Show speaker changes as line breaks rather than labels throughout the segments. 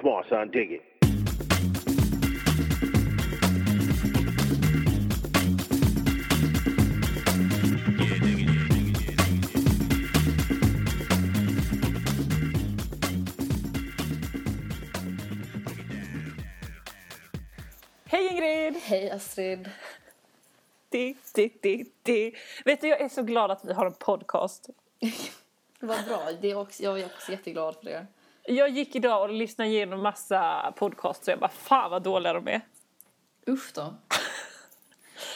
Come on, son, dig it.
Hej Ingrid!
Hej Astrid.
Di, di, di, di. Vet du, jag är så glad att vi har en podcast.
Vad bra. Det är också, jag är också jätteglad för det.
Jag gick idag och lyssnade igenom massa podcasts och jag bara fan vad dåliga de är.
Usch då.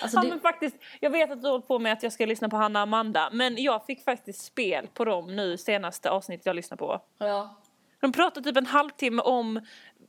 Alltså
Ja,
det,
men faktiskt, jag vet att du har hållit på med att jag ska lyssna på Hanna och Amanda men jag fick faktiskt spel på dem nu senaste avsnittet jag lyssnade på.
ja,
De pratade typ en halvtimme om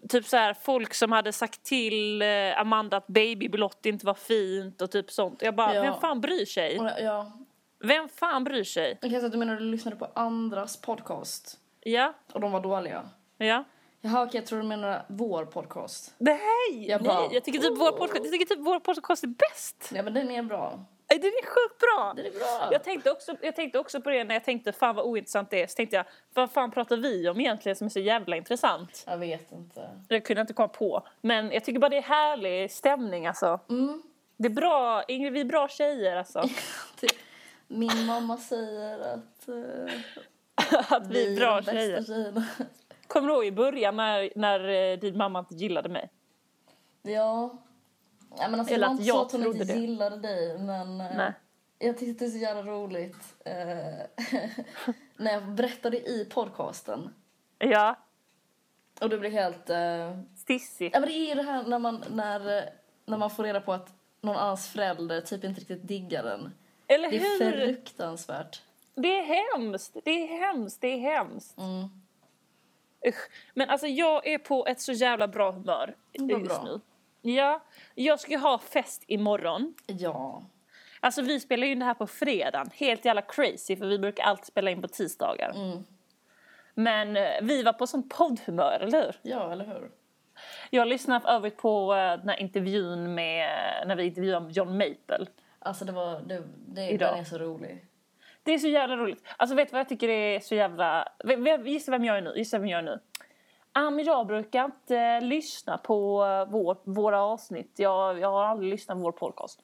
typ så här, folk som hade sagt till eh, Amanda att babyblått inte var fint och typ sånt. Jag bara,
Ja.
vem fan bryr sig?
och, ja.
Vem fan bryr sig?
Jag kan säga att du menar att du lyssnade på andras podcast
Ja,
och de var dåliga.
ja.
Jaha, okej, jag tror du menar vår podcast.
Nej!
Jag
Jag,
bara,
nej, jag, tycker typ vår podcast, jag tycker typ vår podcast är bäst.
Nej, men den är bra.
Nej, Den är sjukt bra.
Den är bra.
Jag tänkte, också, jag tänkte också på det när jag tänkte fan vad ointressant det är. Så tänkte jag, vad fan pratar vi om egentligen som är så jävla intressant?
Jag vet inte.
Jag kunde inte komma på. Men jag tycker bara det är härlig stämning alltså.
Mm.
Det är bra, Ingrid, vi är bra tjejer alltså.
Det- Min mamma säger att eh,
Att vi är bra tjejer.
bästa tjejerna.
Kommer du ihåg i början när, när eh, din mamma inte gillade mig?
Ja. Nej, men alltså,
Eller
det var
att
inte
jag
så att hon
trodde
inte
det.
gillade dig, men... eh,
Nej.
Jag tyckte att det är så jävla roligt. eh, när jag berättade i podcasten.
Ja,
Och du blev helt... eh,
stissig.
Ja, men det är ju det här när man, när, eh, när man får reda på att någon annans förälder typ inte riktigt diggar den.
Eller
Det är
hur?
fruktansvärt.
Det är hemskt, det är hemskt, det är hemskt.
Mm.
Usch. Men alltså jag är på ett så jävla bra humör
Mm, Vad
just
bra.
nu. Ja, jag ska ju ha fest imorgon.
Ja.
Alltså vi spelar ju in det här på fredagen. Helt jävla crazy för vi brukar alltid spela in på tisdagar.
Mm.
Men eh, vi var på sån poddhumör, eller hur?
Ja, eller hur?
Jag lyssnade för övrigt på eh, den här intervjun med, eh, när vi intervjuade John Maple.
Alltså det var... Det, det,
Idag.
den är så rolig.
Det är så jävla roligt. Alltså vet du vad jag tycker är så jävla... V- v- Gissa vem jag är nu? Gissa vem jag är nu? Ah, men jag brukar inte eh, lyssna på eh, vår, våra avsnitt. Jag, jag har aldrig lyssnat på vår podcast.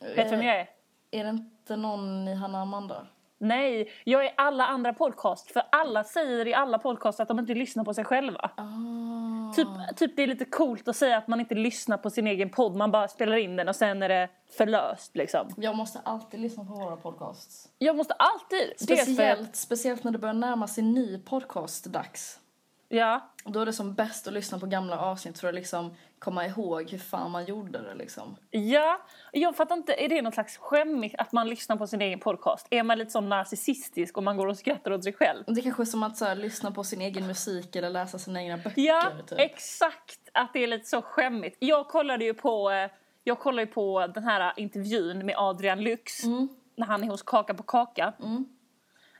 Vet du vem jag är?
Är det inte någon i Hanna Amanda?
Nej, jag är alla andra podcast. För alla säger i alla podcast att de inte lyssnar på sig själva.
Ah.
Typ, typ det är lite coolt att säga att man inte lyssnar på sin egen podd. Man bara spelar in den och sen är det förlöst liksom.
Jag måste alltid lyssna på våra podcasts.
Jag måste alltid... dels för-
Speciellt, speciellt när det börjar närma sig ny podcast-dags.
Ja.
Då är det som bäst att lyssna på gamla avsnitt för att liksom komma ihåg hur fan man gjorde det. Liksom.
Ja, jag fattar inte. Är det något slags skämmigt att man lyssnar på sin egen podcast? Är man lite sån narcissistisk och man går och skrattar åt sig själv?
Det kanske är som att så här, lyssna på sin egen musik eller läsa sina egna böcker.
Ja,
typ.
exakt. Att det är lite så skämmigt. Jag kollade ju på, eh, jag kollade ju på den här intervjun med Adrian Lyx
Mm.
när han är hos Kaka på Kaka.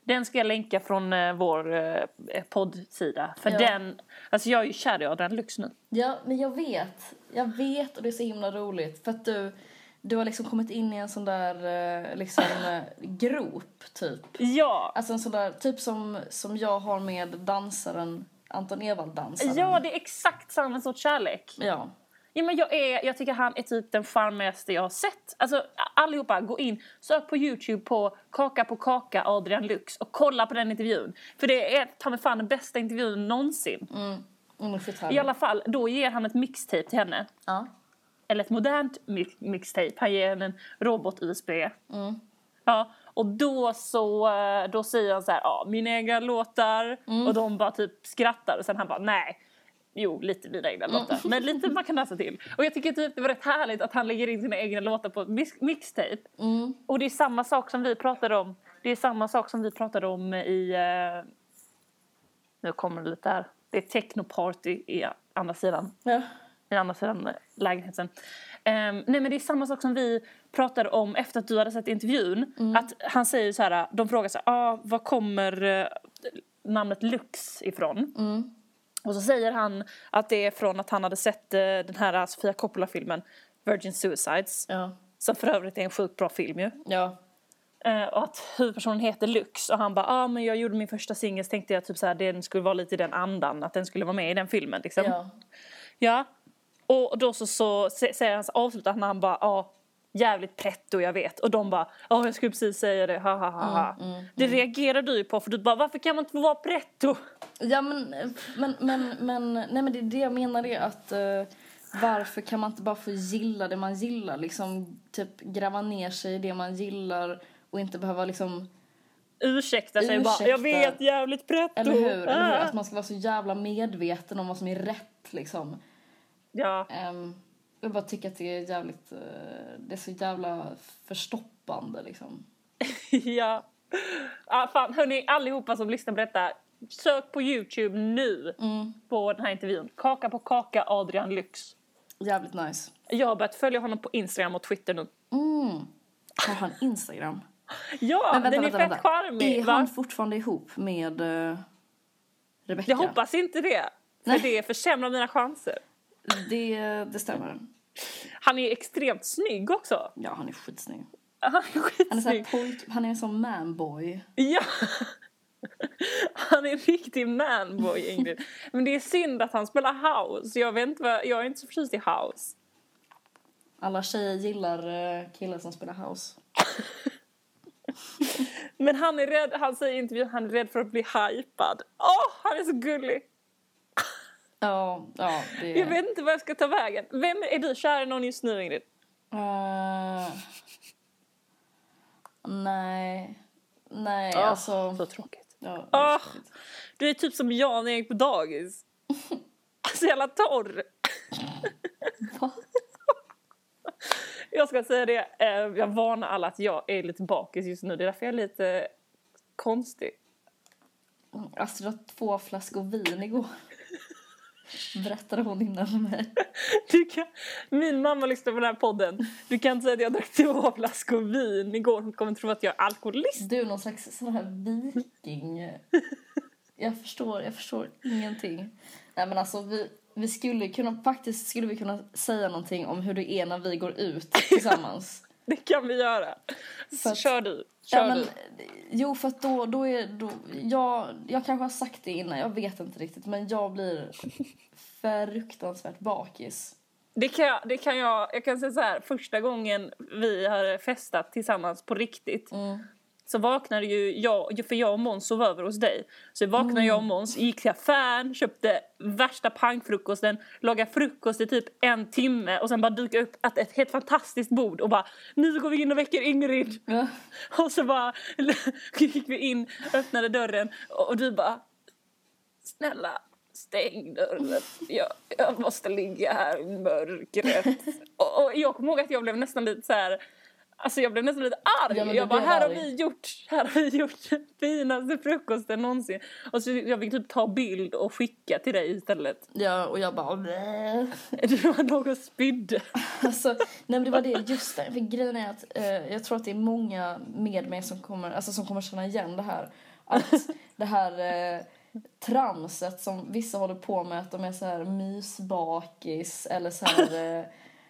Den ska jag länka från eh, vår eh, poddsida. För
Ja.
den, alltså jag är ju kär i Adrian Lyx nu.
ja, men jag vet. Jag vet och det är så himla roligt. För att du, du har liksom kommit in i en sån där eh, liksom, eh, grop, typ.
Ja,
Alltså en sån där, typ som, som jag har med dansaren Anton Ewald-dansaren.
ja det är exakt samma sorts kärlek.
ja.
Ja, men jag, är, jag tycker han är typ den charmigaste jag har sett. Alltså, allihopa, gå in, sök på Youtube på Kaka på kaka Adrian Lux och kolla på den intervjun. För det är ta mig fan den bästa intervjun någonsin.
Mm, skithärligt.
I alla fall, då ger han ett mixtape till henne.
Ja.
Eller ett modernt mi- mixtape. Han ger henne en robot-USB. Ja, och då så eh, då säger han så här, ja, mina egna låtar. Och de bara typ skrattar och sen han bara, nej. Jo, lite mina egna låtar. Men lite man kan dansa till. Och jag tycker typ det var rätt härligt att han lägger in sina egna låtar på mix- mixtape. Och det är samma sak som vi pratade om. Det är samma sak som vi pratade om i... Eh, nu kommer det lite här. Det är technoparty i andra sidan
Ja.
i andra sidan lägenheten. Ehm, nej men det är samma sak som vi pratade om efter att du hade sett intervjun. Att han säger så här, de frågar så här, ah, var kommer eh, namnet Lux ifrån? Och så säger han att det är från att han hade sett eh, den här Sofia Coppola-filmen Virgin Suicides.
Ja.
Som för övrigt är en sjukt bra film ju.
Ja.
Eh, och att huvudpersonen heter Lux och han bara ah, men jag gjorde min första singel så tänkte jag typ så här, den skulle vara lite i den andan att den skulle vara med i den filmen liksom. Ja.
Ja.
Och då så, så sä- säger han så avslutar han, han bara ah, jävligt pretto jag vet och de bara ja jag skulle precis säga det ha ha ha ha.
Mm,
det reagerar du ju på för du bara varför kan man inte få vara pretto?
Ja men, men, men, men, nej, men det är det jag menar är att eh, varför kan man inte bara få gilla det man gillar? Liksom typ gräva ner sig i det man gillar och inte behöva liksom,
Ursäkta sig bara
Ursäkta.
jag vet jävligt pretto.
eller hur? Eller hur?
Ah.
Att man ska vara så jävla medveten om vad som är rätt liksom.
Ja.
Ehm, jag bara tycker att det är jävligt, eh, det är så jävla förstoppande liksom.
ja. Ah, fan, hörni, allihopa som lyssnar på detta, sök på Youtube nu
Mm.
på den här intervjun. Kaka på kaka Adrian Lyx.
Jävligt nice.
Jag har börjat följa honom på Instagram och Twitter nu.
Mm. Har han Instagram?
Ja,
Men vänta,
den är
vänta,
fett
vänta.
charmig.
Är
va?
han fortfarande ihop med uh, Rebecca?
Jag hoppas inte det. För
Nej.
det försämrar mina chanser.
Det, det stämmer.
Han är extremt snygg också.
Ja, han är skitsnygg.
Han är
Han är, så här
skitsnygg.
pojk, han är en sån manboy.
Ja. Han är en riktig manboy, Ingrid. Men det är synd att han spelar house. Jag, vet inte vad, jag är inte så förtjust i house.
Alla tjejer gillar eh, killar som spelar house.
Men han är rädd, han säger i intervjun, han är rädd för att bli hypad. Åh, han är så gullig!
Ja, ja det...
Jag vet inte vad jag ska ta vägen. Vem är du kär i någon just nu, Ingrid?
Eh, nej. Nej,
Ah,
alltså...
Så tråkigt.
Ja, det är
Åh,
tråkigt.
du är typ som jag när jag gick på dagis. Så jävla torr.
Va?
Jag ska säga det, eh, jag varnar alla att jag är lite bakis just nu. Det är därför jag är lite konstig.
Astrid har två flaskor vin igår. Berättade hon innan mig.
Du kan, min mamma lyssnar på den här podden. Du kan inte säga att jag drack två flaskor vin igår. Hon kommer tro att jag är alkoholist.
Du är någon slags sån här viking. Jag förstår, jag förstår ingenting. Nej men alltså vi, vi skulle kunna, faktiskt skulle vi kunna säga någonting om hur det är när vi går ut tillsammans.
Det kan vi göra. Så
För att-
kör du. Kör
ja, men,
du.
jo för att då, då är, då, jag, jag kanske har sagt det innan, jag vet inte riktigt men jag blir fruktansvärt bakis.
Det kan, jag- det kan jag, jag kan säga så här, första gången vi har festat tillsammans på riktigt så vaknade ju jag, för jag och Måns sov över hos dig. Så vaknade jag och Måns, gick till affären, köpte värsta pangfrukosten, lagade frukost i typ en timme och sen bara dyka upp att ett helt fantastiskt bord och bara nu går vi in och väcker Ingrid.
Ja.
Och så bara gick vi in, öppnade dörren och och du bara Snälla, stäng dörren. Jag, jag måste ligga här i mörkret. Och, och jag kommer ihåg att jag blev nästan lite så här... Alltså jag blev nästan lite arg.
Ja, men du
jag bara,
blev
här har,
arg.
vi gjort, här har vi gjort den finaste frukosten någonsin. Och så jag fick typ ta bild och skicka till dig istället.
Ja, och jag bara... "Bleh."
Du var någon och spydde.
Alltså, nej men det var det, just det. För grejen är att eh, jag tror att det är många med mig som kommer, alltså, som kommer känna igen det här. Att det här eh, tramset som vissa håller på med, att de är så här mysbakis eller så här... Eh,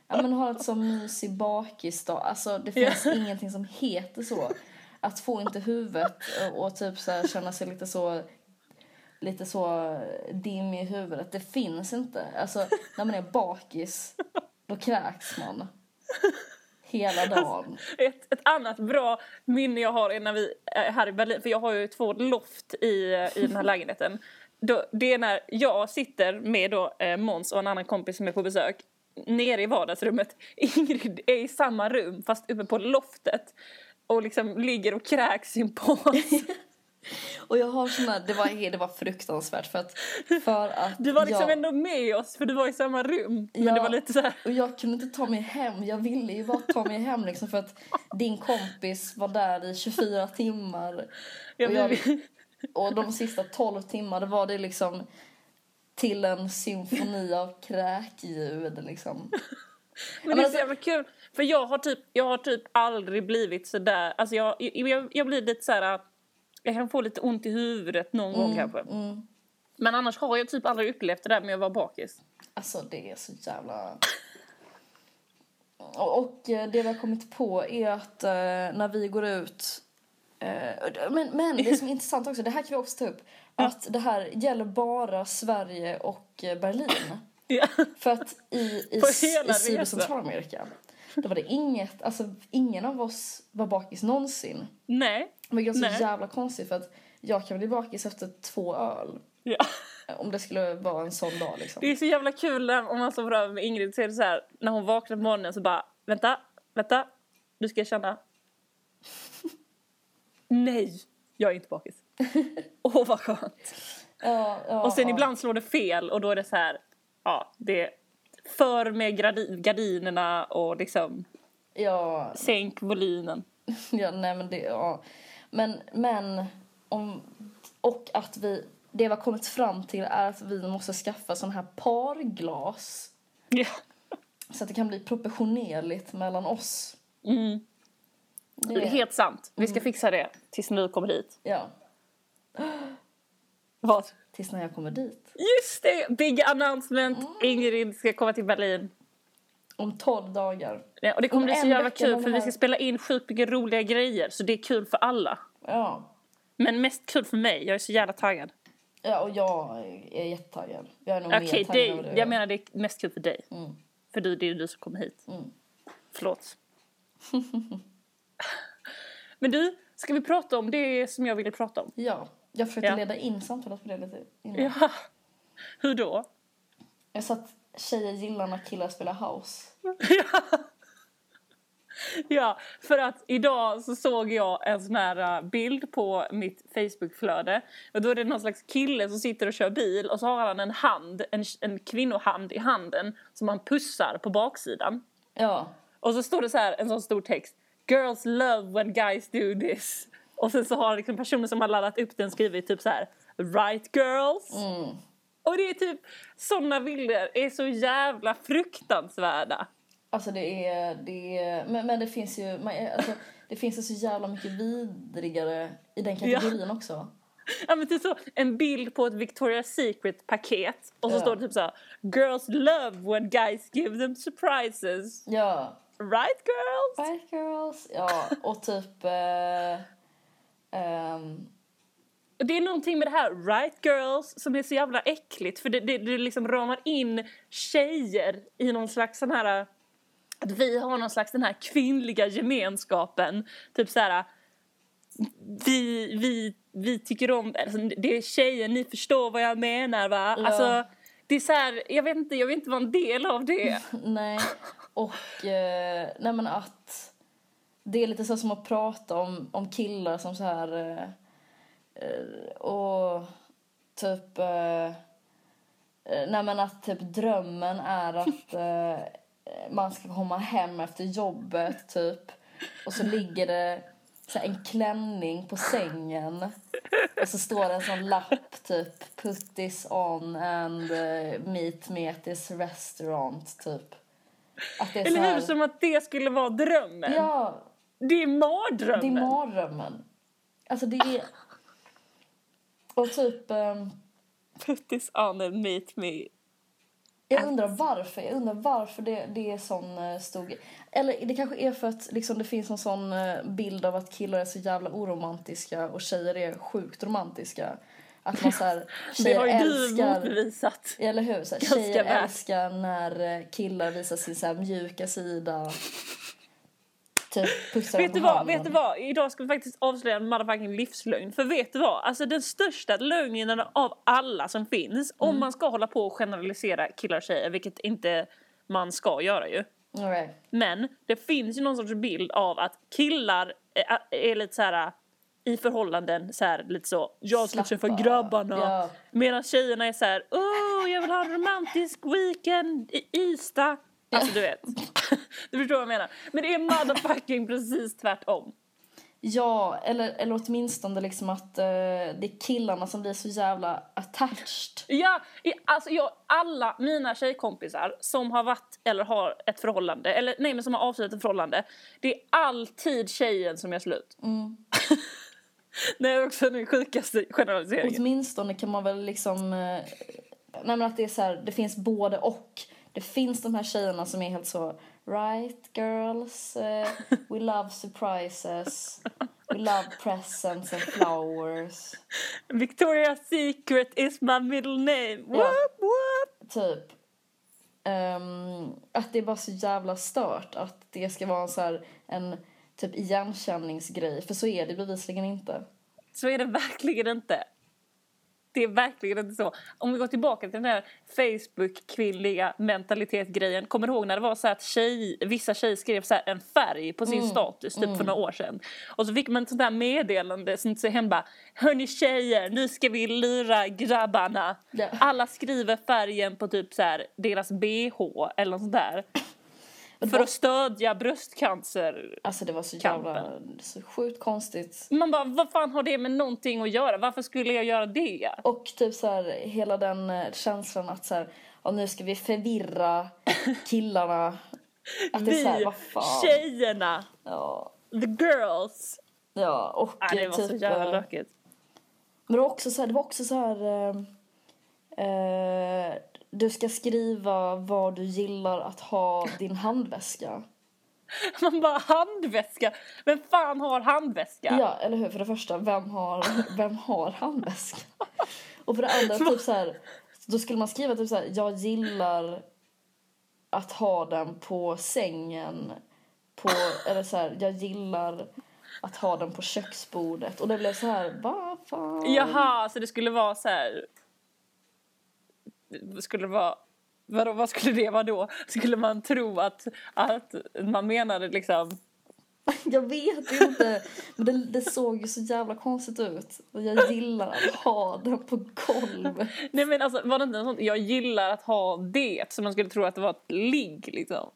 ja men har ett så mysig bakis då. Alltså det finns ingenting som heter så. Att få inte huvudet eh, och typ så här, känna sig lite så lite så dim i huvudet. Det finns inte. Alltså, när man är bakis, då kräks man. Hela
Alltså,
dagen.
Ett, ett annat bra minne jag har är när vi är här i Berlin, för jag har ju två loft i, eh, i den här lägenheten. Då, det är när jag sitter med då, eh, Måns och en annan kompis som är på besök nere i vardagsrummet. Ingrid är i samma rum fast uppe på loftet och liksom ligger och kräks i en påse.
Och jag har såna, det var, det var fruktansvärt för att, för att
Du var liksom
jag,
ändå med oss för du var i samma rum. Men
Ja.
det var lite så här,
och jag kunde inte ta mig hem. Jag ville ju bara ta mig hem liksom för att din kompis var där i 24 timmar.
jag,
Och jag,
blev-
och de sista 12 timmarna var det liksom till en symfoni av kräkljud liksom.
Men alltså- det
men
är så jävla kul. För jag har typ, jag har typ aldrig blivit så där... Alltså jag, jag, jag blir lite så här... äh, Jag kan få lite ont i huvudet någon gång kanske. Men annars har jag typ aldrig upplevt det där med att vara bakis.
Alltså det är så jävla... Och, och eh, det vi har kommit på är att eh, när vi går ut Eh, Men, men det som är intressant också, det här kan vi också ta upp, att det här gäller bara Sverige och eh, Berlin.
Ja.
För att i, i,
På
s-
hela
i Syd
resan.
och Centralamerika, då var det inget, alltså ingen av oss var bakis någonsin.
Nej.
Vilket var så
Nej.
jävla konstigt för att jag kan bli bakis efter två öl.
Ja.
Om det skulle vara en sån dag liksom.
Det är så jävla kul när- om man står framför med Ingrid så är det så här när hon vaknar på morgonen så bara vänta, vänta, du ska känna. Nej, jag är inte bakis. Åh vad skönt.
Ja, ja,
Och sen
ja.
ibland slår det fel och då är det så här, ja det är för med gradi- gardinerna och liksom
Ja,
sänk volymen.
ja, nej men det, ja. Men, men om, och att vi, det vi har kommit fram till är att vi måste skaffa sån här parglas.
Ja.
Så att det kan bli proportionerligt mellan oss.
Mm. Det är helt sant. Vi ska fixa det tills nu kommer hit.
Ja,
Vad?
tills när jag kommer dit.
Just det! Big announcement. Ingrid ska komma till Berlin.
Om 12 dagar.
Ja, och det kommer
Om
bli så
en
jävla
vecka
kul
var det
för vi
här.
ska spela in sjukt mycket roliga grejer så det är kul för alla.
Ja.
Men mest kul för mig, jag är så jävla taggad.
ja, och jag är jättetaggad. Jag är nog mer
Okej,
taggad än vad
dig.
du är.
jag menar det är mest kul för dig.
Mm.
För du, det är ju du som kommer hit.
Mm.
Förlåt. Men du, ska vi prata om det som jag ville prata om?
Ja, jag försökte
Ja.
leda in samtalet på det lite innan.
Ja. Hur då?
Jag sa att tjejer gillar när killar spelar house.
Ja. ja, för att idag så såg jag en sån här eh, bild på mitt Facebookflöde. Och då är det någon slags kille som sitter och kör bil och så har han en hand, en, en kvinnohand i handen som han pussar på baksidan.
Ja,
Och så står det så här, en sån stor text. Girls love when guys do this. Och sen så har liksom personer som har laddat upp den skrivit typ så här Right girls. Och det är typ såna bilder är så jävla fruktansvärda.
alltså det är... Det är men, men det finns ju... Man, är- alltså, det finns ju så jävla mycket vidrigare i den kategorin också.
Ja, men typ så, en bild på ett Victoria's Secret-paket och så
Ja.
står det typ så här Girls love when guys give them surprises.
Ja.
Right girls?
Bad girls. Ja, och typ... Eh, ehm,
Och Det är någonting med det här right girls som är så jävla äckligt för det, det, det liksom ramar in tjejer i någon slags sån här att vi har någon slags den här kvinnliga gemenskapen. Typ så här vi, vi, vi tycker om, alltså, det är tjejer, ni förstår vad jag menar va?
Ja.
Alltså det är så här, jag vet inte, jag vill inte vara en del av det.
nej. Och... Eh, nej, men att... Det är lite så som att prata om, om killar som så här... Eh, eh, och typ... Eh, eh, nej, men att typ drömmen är att eh, man ska komma hem efter jobbet, typ. Och så ligger det så här, en klänning på sängen. Och så står det en sån lapp, typ. Put this on and eh, meet me at this restaurant, typ. Att det är så
Eller hur?
här,
Som att det skulle vara drömmen.
Ja,
Det är mardrömmen.
det är mardrömmen. Alltså det är... Och typ... ehm,
Put this on and meet me.
Jag undrar varför. Jag undrar varför det, det är sån eh, stor grej. Eller det kanske är för att liksom, det finns en sån eh, bild av att killar är så jävla oromantiska och tjejer är sjukt romantiska. Att man såhär...
Det
Tjejer
har ju du
älskar...
motbevisat.
Eller hur? Så här,
ganska
tjejer
väl.
älskar när eh, killar visar sin så här, mjuka sida. Typ pussar
Vet
om
du, vad,
handen.
vet du vad? Idag ska vi faktiskt avslöja en motherfucking livslögn. För vet du vad? Alltså den största lögnen av alla som finns, om man ska hålla på och generalisera killar och tjejer, vilket inte man ska göra ju.
All right.
Men det finns ju någon sorts bild av att killar är, är lite så här eh, i förhållanden så här lite så, jag ska
Slappa.
träffa grabbarna.
Ja.
Medan tjejerna är så här, åh jag vill ha en romantisk weekend i Ystad. Alltså du vet, du förstår vad jag menar. Men det är motherfucking precis tvärtom.
Ja, eller, eller åtminstone liksom att eh, det är killarna som blir så jävla attached.
Ja, i- alltså jag, alla mina tjejkompisar som har varit eller har ett förhållande, eller nej men som har avslutat ett förhållande, det är alltid tjejen som gör slut. det är också den sjukaste generaliseringen.
Åtminstone kan man väl liksom... Eh, nej men att det är så här, det finns både och. Det finns de här tjejerna som är helt så... Right girls, eh, we love surprises. Love presents and flowers.
Victoria's Secret is my middle name.
Ja.
Whoop, whoop.
Typ. Ehm, att det är bara så jävla stört att det ska vara en så här, en typ igenkänningsgrej. För så är det bevisligen inte.
Så är det verkligen inte. Det är verkligen inte så. Om vi går tillbaka till den här Facebook-kvinnliga mentalitet-grejen. Kommer du ihåg när det var så här att tjej, vissa tjejer skrev så här en färg på sin status typ för några år sedan. Och så fick man ett sånt där meddelande som så hem bara Hörni tjejer, nu ska vi lira grabbarna.
Ja.
Alla skriver färgen på typ så här deras bh eller något sånt där. För att stödja bröstcancer.
Alltså det var så jävla så sjukt konstigt.
Man bara, vad fan har det med någonting att göra? Varför skulle jag göra det?
Och typ så här, hela den eh, känslan att så här, "Ja, nu ska vi förvirra killarna. Att det är så här,
Vi,
vad fan.
tjejerna,
Ja.
the girls.
Ja, och
Ja, det
eh,
var så
typ,
jävla
eh,
lökigt.
Men det var också så här, det var också så här eh, eh, du ska skriva vad du gillar att ha din handväska.
Man bara, handväska? Vem fan har handväska?
Ja. eller hur? För det första, vem har, vem har handväska? Och för det andra, typ så här, då skulle man skriva typ så här, jag gillar att ha den på sängen. På, eller så här, jag gillar att ha den på köksbordet. Och det blev så här, vad fan?
Jaha, så det skulle vara så här... Det Skulle vara... Vadå, vad skulle det vara då? Skulle man tro att, att man menade liksom...
Jag vet inte. Men det, det såg ju så jävla konstigt ut. Och jag gillar att ha den på golvet.
Nej men alltså, var det inte något sånt? Jag gillar att ha det. Så man skulle tro att det var ett ligg liksom.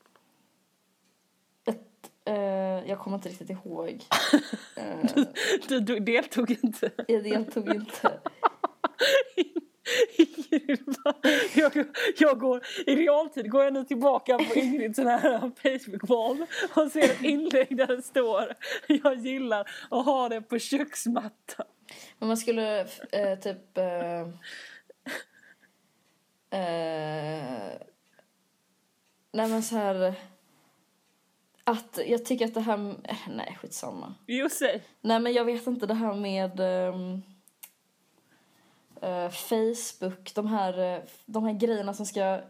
Ett, eh, jag kommer inte riktigt ihåg. Eh,
Du, du deltog inte.
jag deltog inte.
Ingrid bara, jag, går- jag går i realtid går jag nu tillbaka på Ingrids sån här Facebook-val och ser ett inlägg där det står jag gillar att ha det på köksmattan.
Men man skulle eh, typ... Eh, eh, nej men så här... Att jag tycker att det här... eh, Nej, skitsamma.
Jo, säg.
Nej men jag vet inte det här med ehm, eh, Facebook, de här, eh, de här grejerna som ska,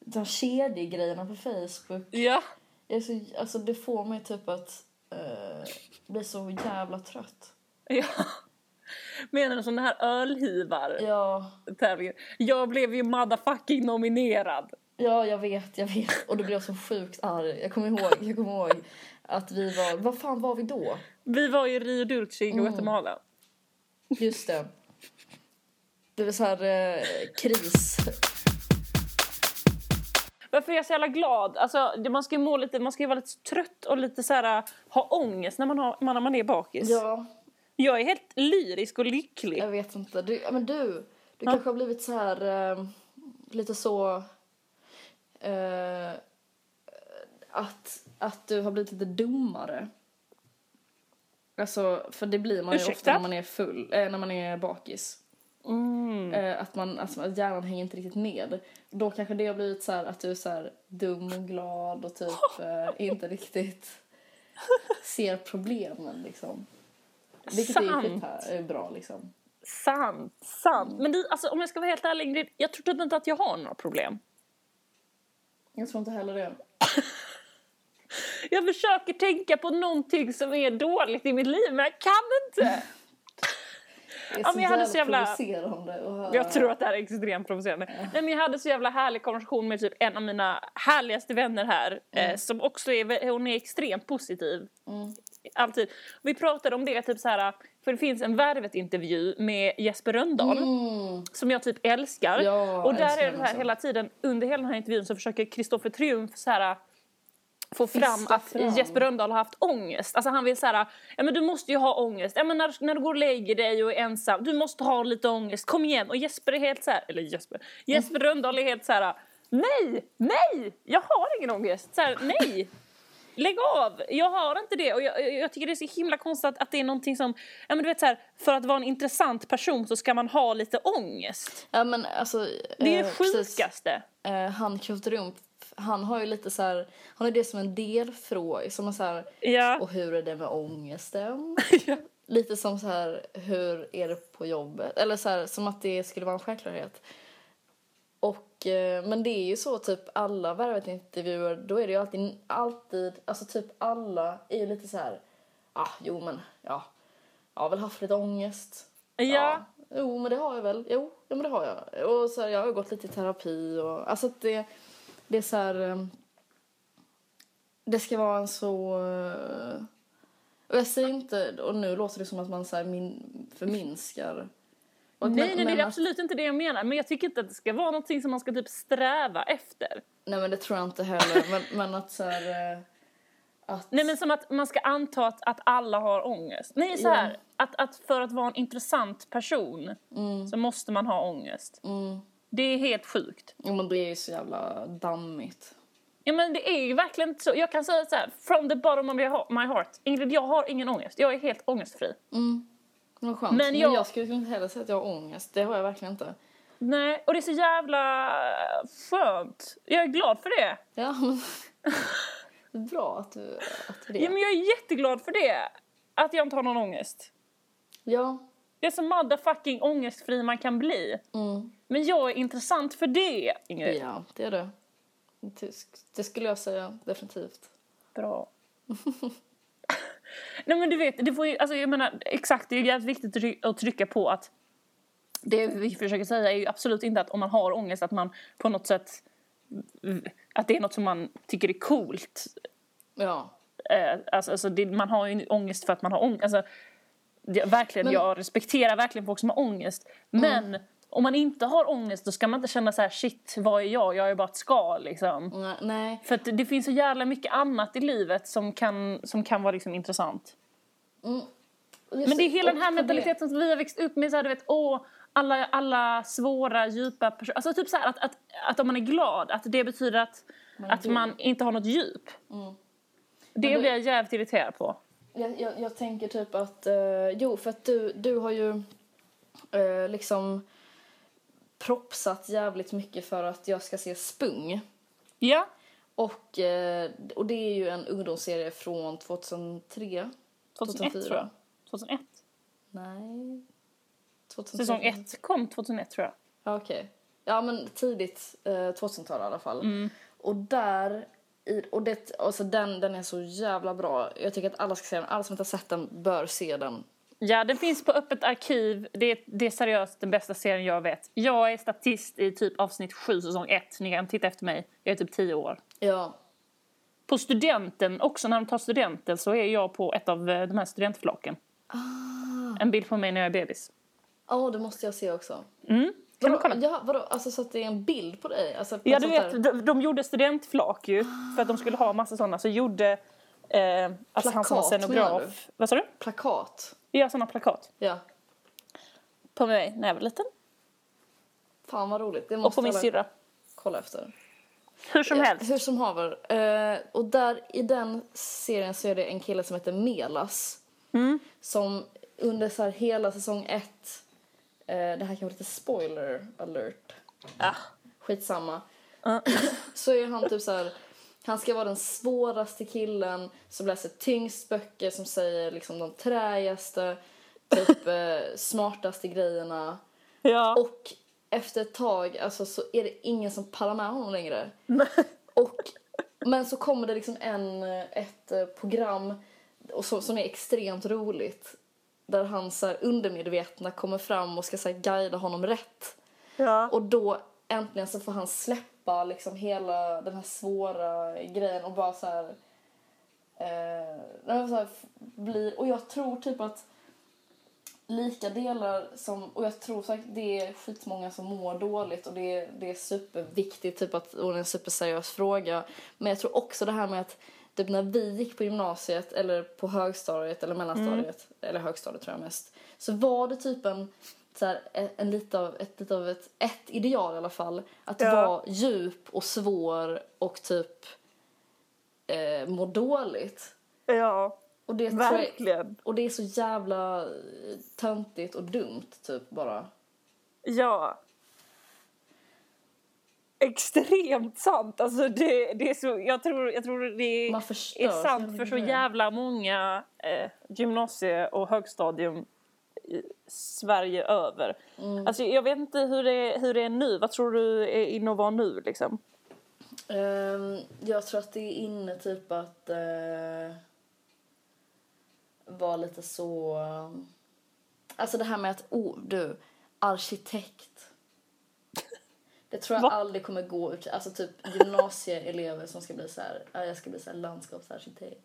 de kedjegrejerna på Facebook.
Ja,
Jag är så, alltså det får mig typ att eh, bli så jävla trött.
ja. Menar du sån här ölhivar
Ja,
tävlingen? Jag blev ju motherfucking nominerad.
ja jag vet, jag vet. Och då blev jag så sjukt arg. Jag kommer ihåg, jag kommer ihåg att vi var, vad fan var vi då?
Vi var i Rio Dulce i Guatemala.
Just det. Det var så här eh, kris.
Varför är jag så jävla glad? Alltså, det- man ska ju må lite, man ska ju vara lite trött och lite så här, äh, ha ångest när man, har, när man är bakis.
Ja,
Jag är helt lyrisk och lycklig.
Jag vet inte. Du, ja, men du, du kanske har blivit så här eh, lite så eh, att, att du har blivit lite dummare. Alltså, för det blir man ju
Ursäkta?
ofta när man är full, eh, när man är bakis.
Mm.
Eh, att man, alltså, att hjärnan hänger inte riktigt med. Då kanske det har blivit så här att du är så här dum och glad och typ eh, inte riktigt ser problemen liksom. Vilket är
Sant.
ju skit- eh, bra liksom.
Sant, sant. Men det, alltså, om jag ska vara helt ärlig Ingrid, jag tror typ inte att jag har några problem.
Jag tror inte heller det.
Jag försöker tänka på någonting som är dåligt i mitt liv, men jag kan inte.
Det är
Ja,
så
men jag hade
jävla
så jävla-
provocerande att höra.
Jag tror att det här är extremt provocerande. Nej, men jag hade så jävla härlig konversation med typ en av mina härligaste vänner här. Eh,
Mm.
som också är, vä- hon är extremt positiv. Alltid. Vi pratade om det, typ så här, för det finns en Värvet-intervju med Jesper Rönndahl. Som jag typ älskar.
Ja,
och där
Mm.
är
älskar
det
honom
här
så.
hela tiden, under hela den här intervjun så försöker Kristoffer Triumf så här få fram
Fiska
att
fram.
Jesper Rönndahl har haft ångest. Alltså han vill så här, ja men du måste ju ha ångest. Ja men när, när du går och lägger dig och är ensam, du måste ha lite ångest, kom igen. Och Jesper är helt så här, eller Jesper, Jesper Rönndahl är helt så här, nej, nej, jag har ingen ångest. Så här, nej. Lägg av! Jag har inte det. Och jag, jag- jag tycker det är så himla konstigt att, att det är någonting som... Ja, men du vet så här, för att vara en intressant person så ska man ha lite ångest.
Ja, men alltså,
Det är
eh,
det
precis.
sjukaste.
Eh, han Kristoffer Rump, han har ju lite så här, han har det som en delfråga som är så här,
Ja.
och hur är det med ångesten? Lite som så här, hur är det på jobbet? Eller så här, som att det skulle vara en självklarhet. Och, eh, men det är ju så typ alla värvet-intervjuer, då är det ju alltid, alltid, alltså typ alla är ju lite så här, ah jo men ja, jag har väl haft lite ångest.
Ja.
Jo men det har jag väl, jo, ja, men det har jag. Och så här, jag har gått lite i terapi och alltså att det, det är så här, eh, det ska vara en så... eh, Och jag säger inte, och nu låter det som att man så här min, förminskar. Och-
nej, nej, det är
att- alltså-
absolut inte det jag menar. Men jag tycker inte att det ska vara någonting som man ska typ sträva efter.
Nej men det tror jag inte heller. men, men att så här, eh, att,
Nej, men som att man ska anta att, att alla har ångest. Nej, så
Ja.
här. Att, att för att vara en intressant person så måste man ha ångest.
mm,
Det är helt sjukt.
jo, men det är ju så jävla dammigt.
Ja, men det är ju verkligen inte så. Jag kan säga så här, from the bottom of my heart- my heart. Ingrid, jag har ingen ångest. Jag är helt ångestfri.
Vad skönt.
Men
Men jag,
jag-
men jag skulle inte heller säga att jag har ångest. Det har jag verkligen inte.
Nej, och det är så jävla eh, skönt. Jag är glad för det.
Ja, men... Det är Bra att du, att du det.
Ja, men jag är jätteglad för det. Att jag inte har någon ångest.
Ja.
Det är så motherfucking ångestfri man kan bli.
Mm.
Men jag är intressant för det, Ingrid.
ja, det är det. Det sk- Det skulle jag säga, definitivt.
Bra. Nej men du vet, det får ju, alltså jag menar, exakt det är ju jävligt viktigt att try- att trycka på att det vi försöker säga är ju absolut inte att om man har ångest att man på något sätt att det är något som man tycker är coolt.
Ja.
Eh, alltså, alltså det, man har ju ångest för att man har ångest. Alltså, det, verkligen,
Men- Mm.
jag respekterar verkligen folk som har ångest. Men om man inte har ångest då ska man inte känna så här shit, vad är jag? Jag är bara ett skal liksom.
Nej, Nej.
För att det finns så jävla mycket annat i livet som kan, som kan vara liksom intressant. Men det är hela den här mentaliteten som vi har växt upp med. Så här, du vet, åh, alla, alla svåra, djupa personer. Alltså typ så här att, att, att om man är glad, att det betyder att man, att
djup.
man inte har något djup. Det
Mm. Men då-
blir jag jävligt irriterad på.
Jag, jag, jag tänker typ att... Eh, jo, för att du, du har ju eh, liksom propsat jävligt mycket för att jag ska se Spung.
Ja,
Och, eh, och det är ju en ungdomsserie från 2003.
2001 tror jag. 2001.
Nej. 2003.
Säsong 1 kom 2001 tror jag.
Ja, okej. Ja, men tidigt eh, 2000-tal i alla fall. Och där... I, och det, alltså den, den är så jävla bra. Jag tycker att alla ska se den. Alla som inte har sett den bör se den.
Ja, den finns på Öppet arkiv. Det är, det är seriöst den bästa serien jag vet. Jag är statist i typ avsnitt 7, säsong 1. Ni kan titta efter mig. Jag är typ 10 år.
Ja.
På studenten, också när de tar studenten, så är jag på ett av eh, de här studentflaken. En bild på mig när jag är bebis.
Ja, det måste jag se också.
Mm. Kan du
vadå,
kolla?
ja, vadå, alltså så att det är en bild på dig? Alltså, på
Ja,
ett
du
sånt
vet,
där-
de, de gjorde studentflak ju, för att de skulle ha massa sådana. Så gjorde eh, alltså han som var
Plakat, menar du?
scenograf... Vad sa du?
Plakat.
Ja, sådana plakat.
Ja.
På mig när jag var liten.
Fan vad roligt. Det
Och
måste
på min
alla
syrra.
kolla efter.
Hur som helst.
Hur som haver. Eh, och där, i den serien så är det en kille som heter Melas.
Mm.
Som under så här hela säsong ett, eh, det här kan vara lite spoiler alert,
Ja.
skitsamma.
Ja.
så är han typ så här, han ska vara den svåraste killen som läser tyngst böcker, som säger liksom de träigaste, typ eh, smartaste grejerna.
Ja.
Och efter ett tag alltså, så är det ingen som pallar med honom längre. Och, men så kommer det liksom en, ett eh, program och som, som är extremt roligt där hans så här, undermedvetna kommer fram och ska så här, guida honom rätt.
ja.
Och då äntligen så får han släppa liksom hela den här svåra grejen och bara så här, eh, nej, men så här f- bli, och jag tror typ att lika delar som, och jag tror säkert det är skitmånga som mår dåligt och det är, det är superviktigt typ att, och det är en superseriös fråga. Men jag tror också det här med att typ när vi gick på gymnasiet eller på högstadiet eller mellanstadiet,
Mm.
eller högstadiet tror jag mest, så var det typ en så här, en- en lite av, ett, lite av ett, ett ideal i alla fall. Att
Ja.
vara djup och svår och typ eh, må dåligt.
ja.
Och det, tror jag,
Verkligen.
och det är så jävla eh, töntigt och dumt, typ bara.
Ja. extremt sant. Alltså det, det är så, jag, tror, jag tror det
Man
är
förstör så
sant
jävla
för så
mycket.
jävla många eh, gymnasie och högstadium i Sverige över.
Mm.
Alltså, jag vet inte hur det, hur det är nu. Vad tror du är in och var nu? Liksom?
Ehm, jag tror att det är inne typ att eh, vara lite så... eh, Alltså det här med att, oh du, arkitekt. Det tror jag
Va?
aldrig kommer gå ut. Alltså typ gymnasieelever som ska bli så här, "Ja, jag ska bli så här landskapsarkitekt.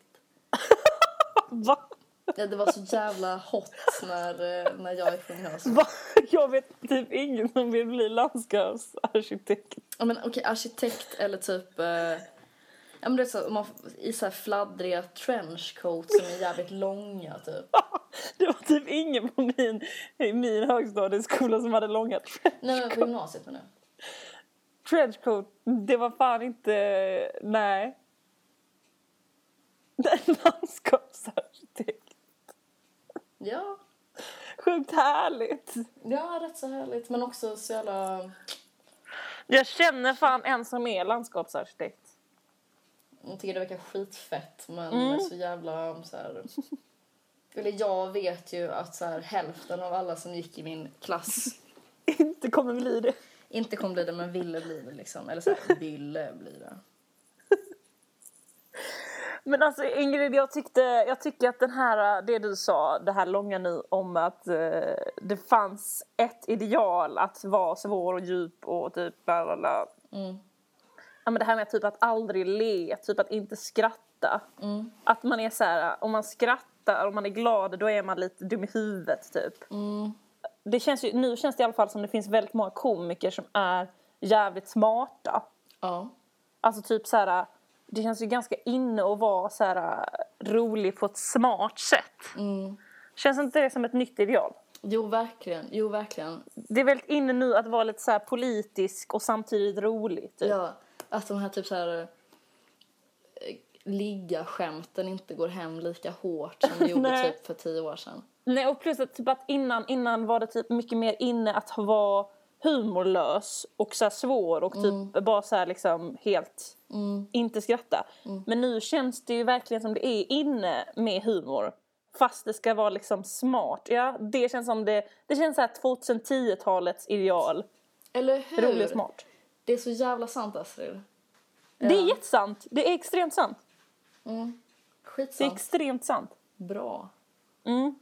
Va?
Det, det var så jävla hot när, eh, när jag gick på gymnasiet.
Va? Jag vet typ ingen som vill bli landskapsarkitekt.
Ja men okej, arkitekt eller typ... Eh, ja men det är så, man, i så här fladdriga trenchcoats som är jävligt långa typ.
Det var typ ingen på min, i min högstadieskola som hade långa tre-
Nej men på gymnasiet menar jag.
trenchcoat. Det var fan inte... Nej. Det är landskapsarkitekt.
Ja,
Sjukt härligt.
ja rätt så härligt men också så jävla...
Jag känner fan en som är landskapsarkitekt.
Jag tycker det verkar skitfett men så jävla um, så här... Eller jag vet ju att så här, hälften av alla som gick i min klass
Inte kommer bli det.
inte kommer bli det men ville bli det liksom. Eller så här, ville bli det.
Men alltså Ingrid, jag, tyckte, jag tycker att den här, äh, det du sa, det här långa nu om att eh, det fanns ett ideal att vara svår och djup och typ bla bla bla.
Mm.
Ja, men det här med typ att aldrig le, typ att inte skratta.
Mm.
Att man är så här, om man skrattar, om man är glad, då är man lite dum i huvudet typ.
Mm.
Det känns ju, nu känns det i alla fall som det finns väldigt många komiker som är jävligt smarta.
Ja.
Alltså typ så här, det känns ju ganska inne att vara så här rolig på ett smart sätt.
Mm.
Känns inte det som ett nytt ideal?
Jo, verkligen. Jo, verkligen.
Det är väldigt inne nu att vara lite så här politisk och samtidigt rolig. Typ.
Ja, att de här typ så här eh, ligga-skämten inte går hem lika hårt som de gjorde
Nej.
typ för tio år sedan.
Nej, och plus att, typ att innan, innan var det typ mycket mer inne att vara humorlös och så här svår och typ bara så här liksom helt inte skratta. Men nu känns det ju verkligen som det är inne med humor. Fast det ska vara liksom smart. Ja, det känns som det, det känns så här 2010-talets ideal.
Eller hur?
Rolig och smart.
Det är så jävla sant, Astrid.
Det är jättesant. Det är extremt sant.
Mm.
Det är
Skitsant.
extremt sant.
Bra.
Mm.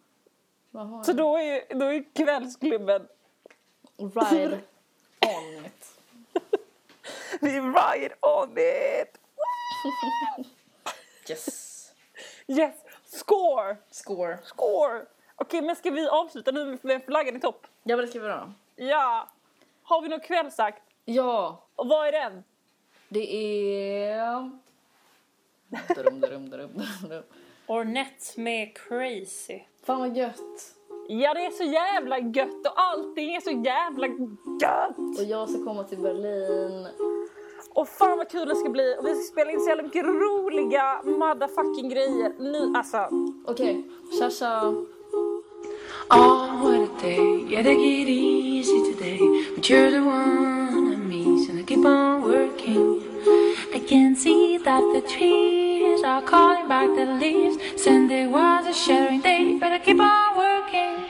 Vad har
Så då är, då är kvällsklubben...
jag? Ride on it.
Vi ride on it!
Yes.
Yes! Score!
Score.
Score! Okej, men ska vi avsluta nu med flaggan i topp?
Ja, men det ska vi göra.
Ja! Har vi någon kvällsakt?
Ja,
Och vad är den?
det är... Drum, drum, drum, drum, drum.
Ornett med Crazy.
Fan vad gött.
Ja, det är så jävla gött och allting är så jävla gött!
Och jag ska komma till Berlin.
Och fan vad kul det ska bli! Och vi ska spela in så jävla mycket roliga motherfucking grejer. Nu, alltså...
Okej, tja tja.
Oh, what a day. Yeah, they get easy today. But you're the one I miss, and I keep on working. I can see that the trees are calling back the leaves. Sunday was a sharing day, but I keep on working.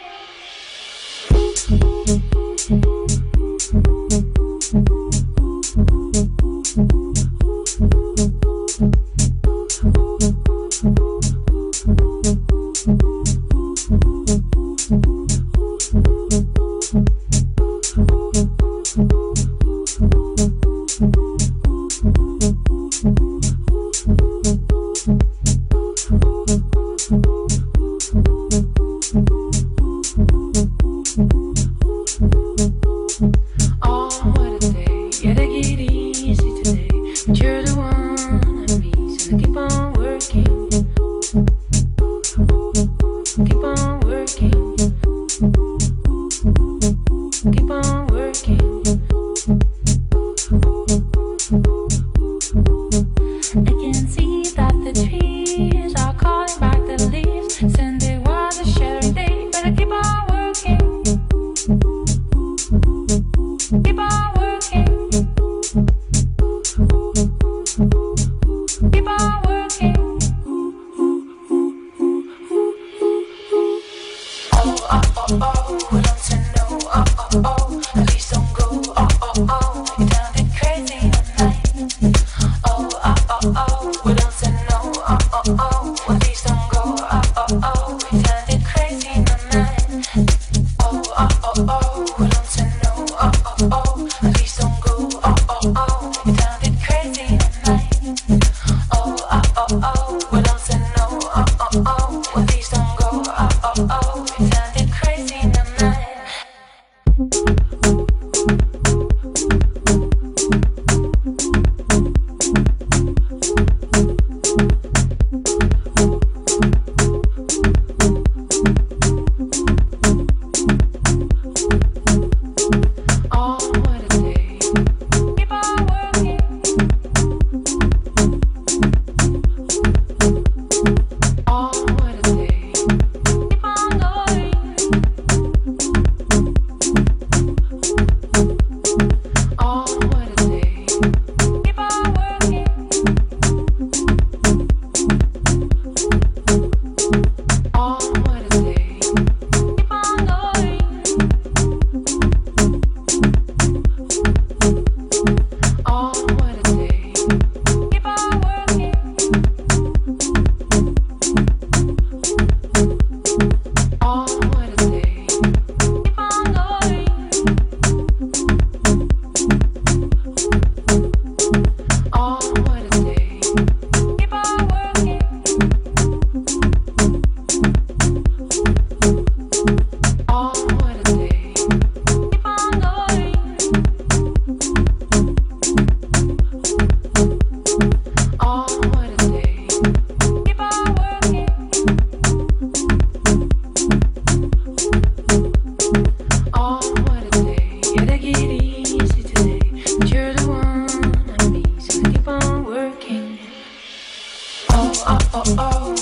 Oh, oh, oh, oh,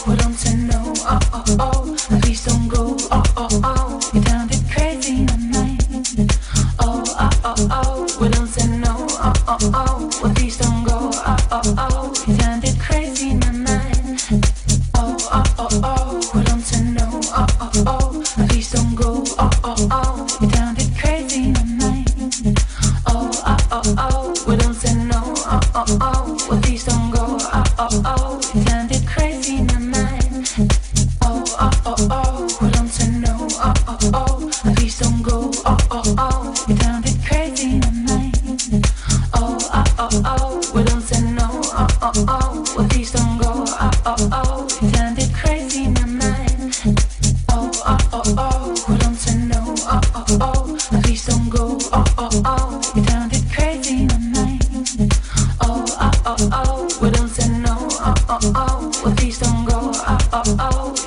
well, please don't go. Oh, oh, oh, you sounded crazy in my mind. Oh, oh, oh, oh, well, don't say no. Oh, oh, oh, well, please don't go. Oh, oh, oh, you sounded crazy in my mind. Oh, oh, oh, oh, well, don't say no. Oh, oh, oh, well, please don't go. Oh, oh, oh, you sounded crazy in my mind. Oh, oh, oh, oh, well, don't say no. Oh, oh, oh, well, please don't go. Oh, oh, oh, you sounded crazy in my mind. Oh, oh, oh, oh, we don't say no. Oh, oh, oh, well, please don't go. Oh, oh, oh, you sounded crazy in my mind. Oh, oh, oh, oh, we don't say no. Oh, oh, oh, well, please don't go. Oh, oh, oh, you sounded crazy in my mind. Oh, oh, oh, oh, we don't say no. Oh, oh, oh, well, please don't go. Oh, oh, oh,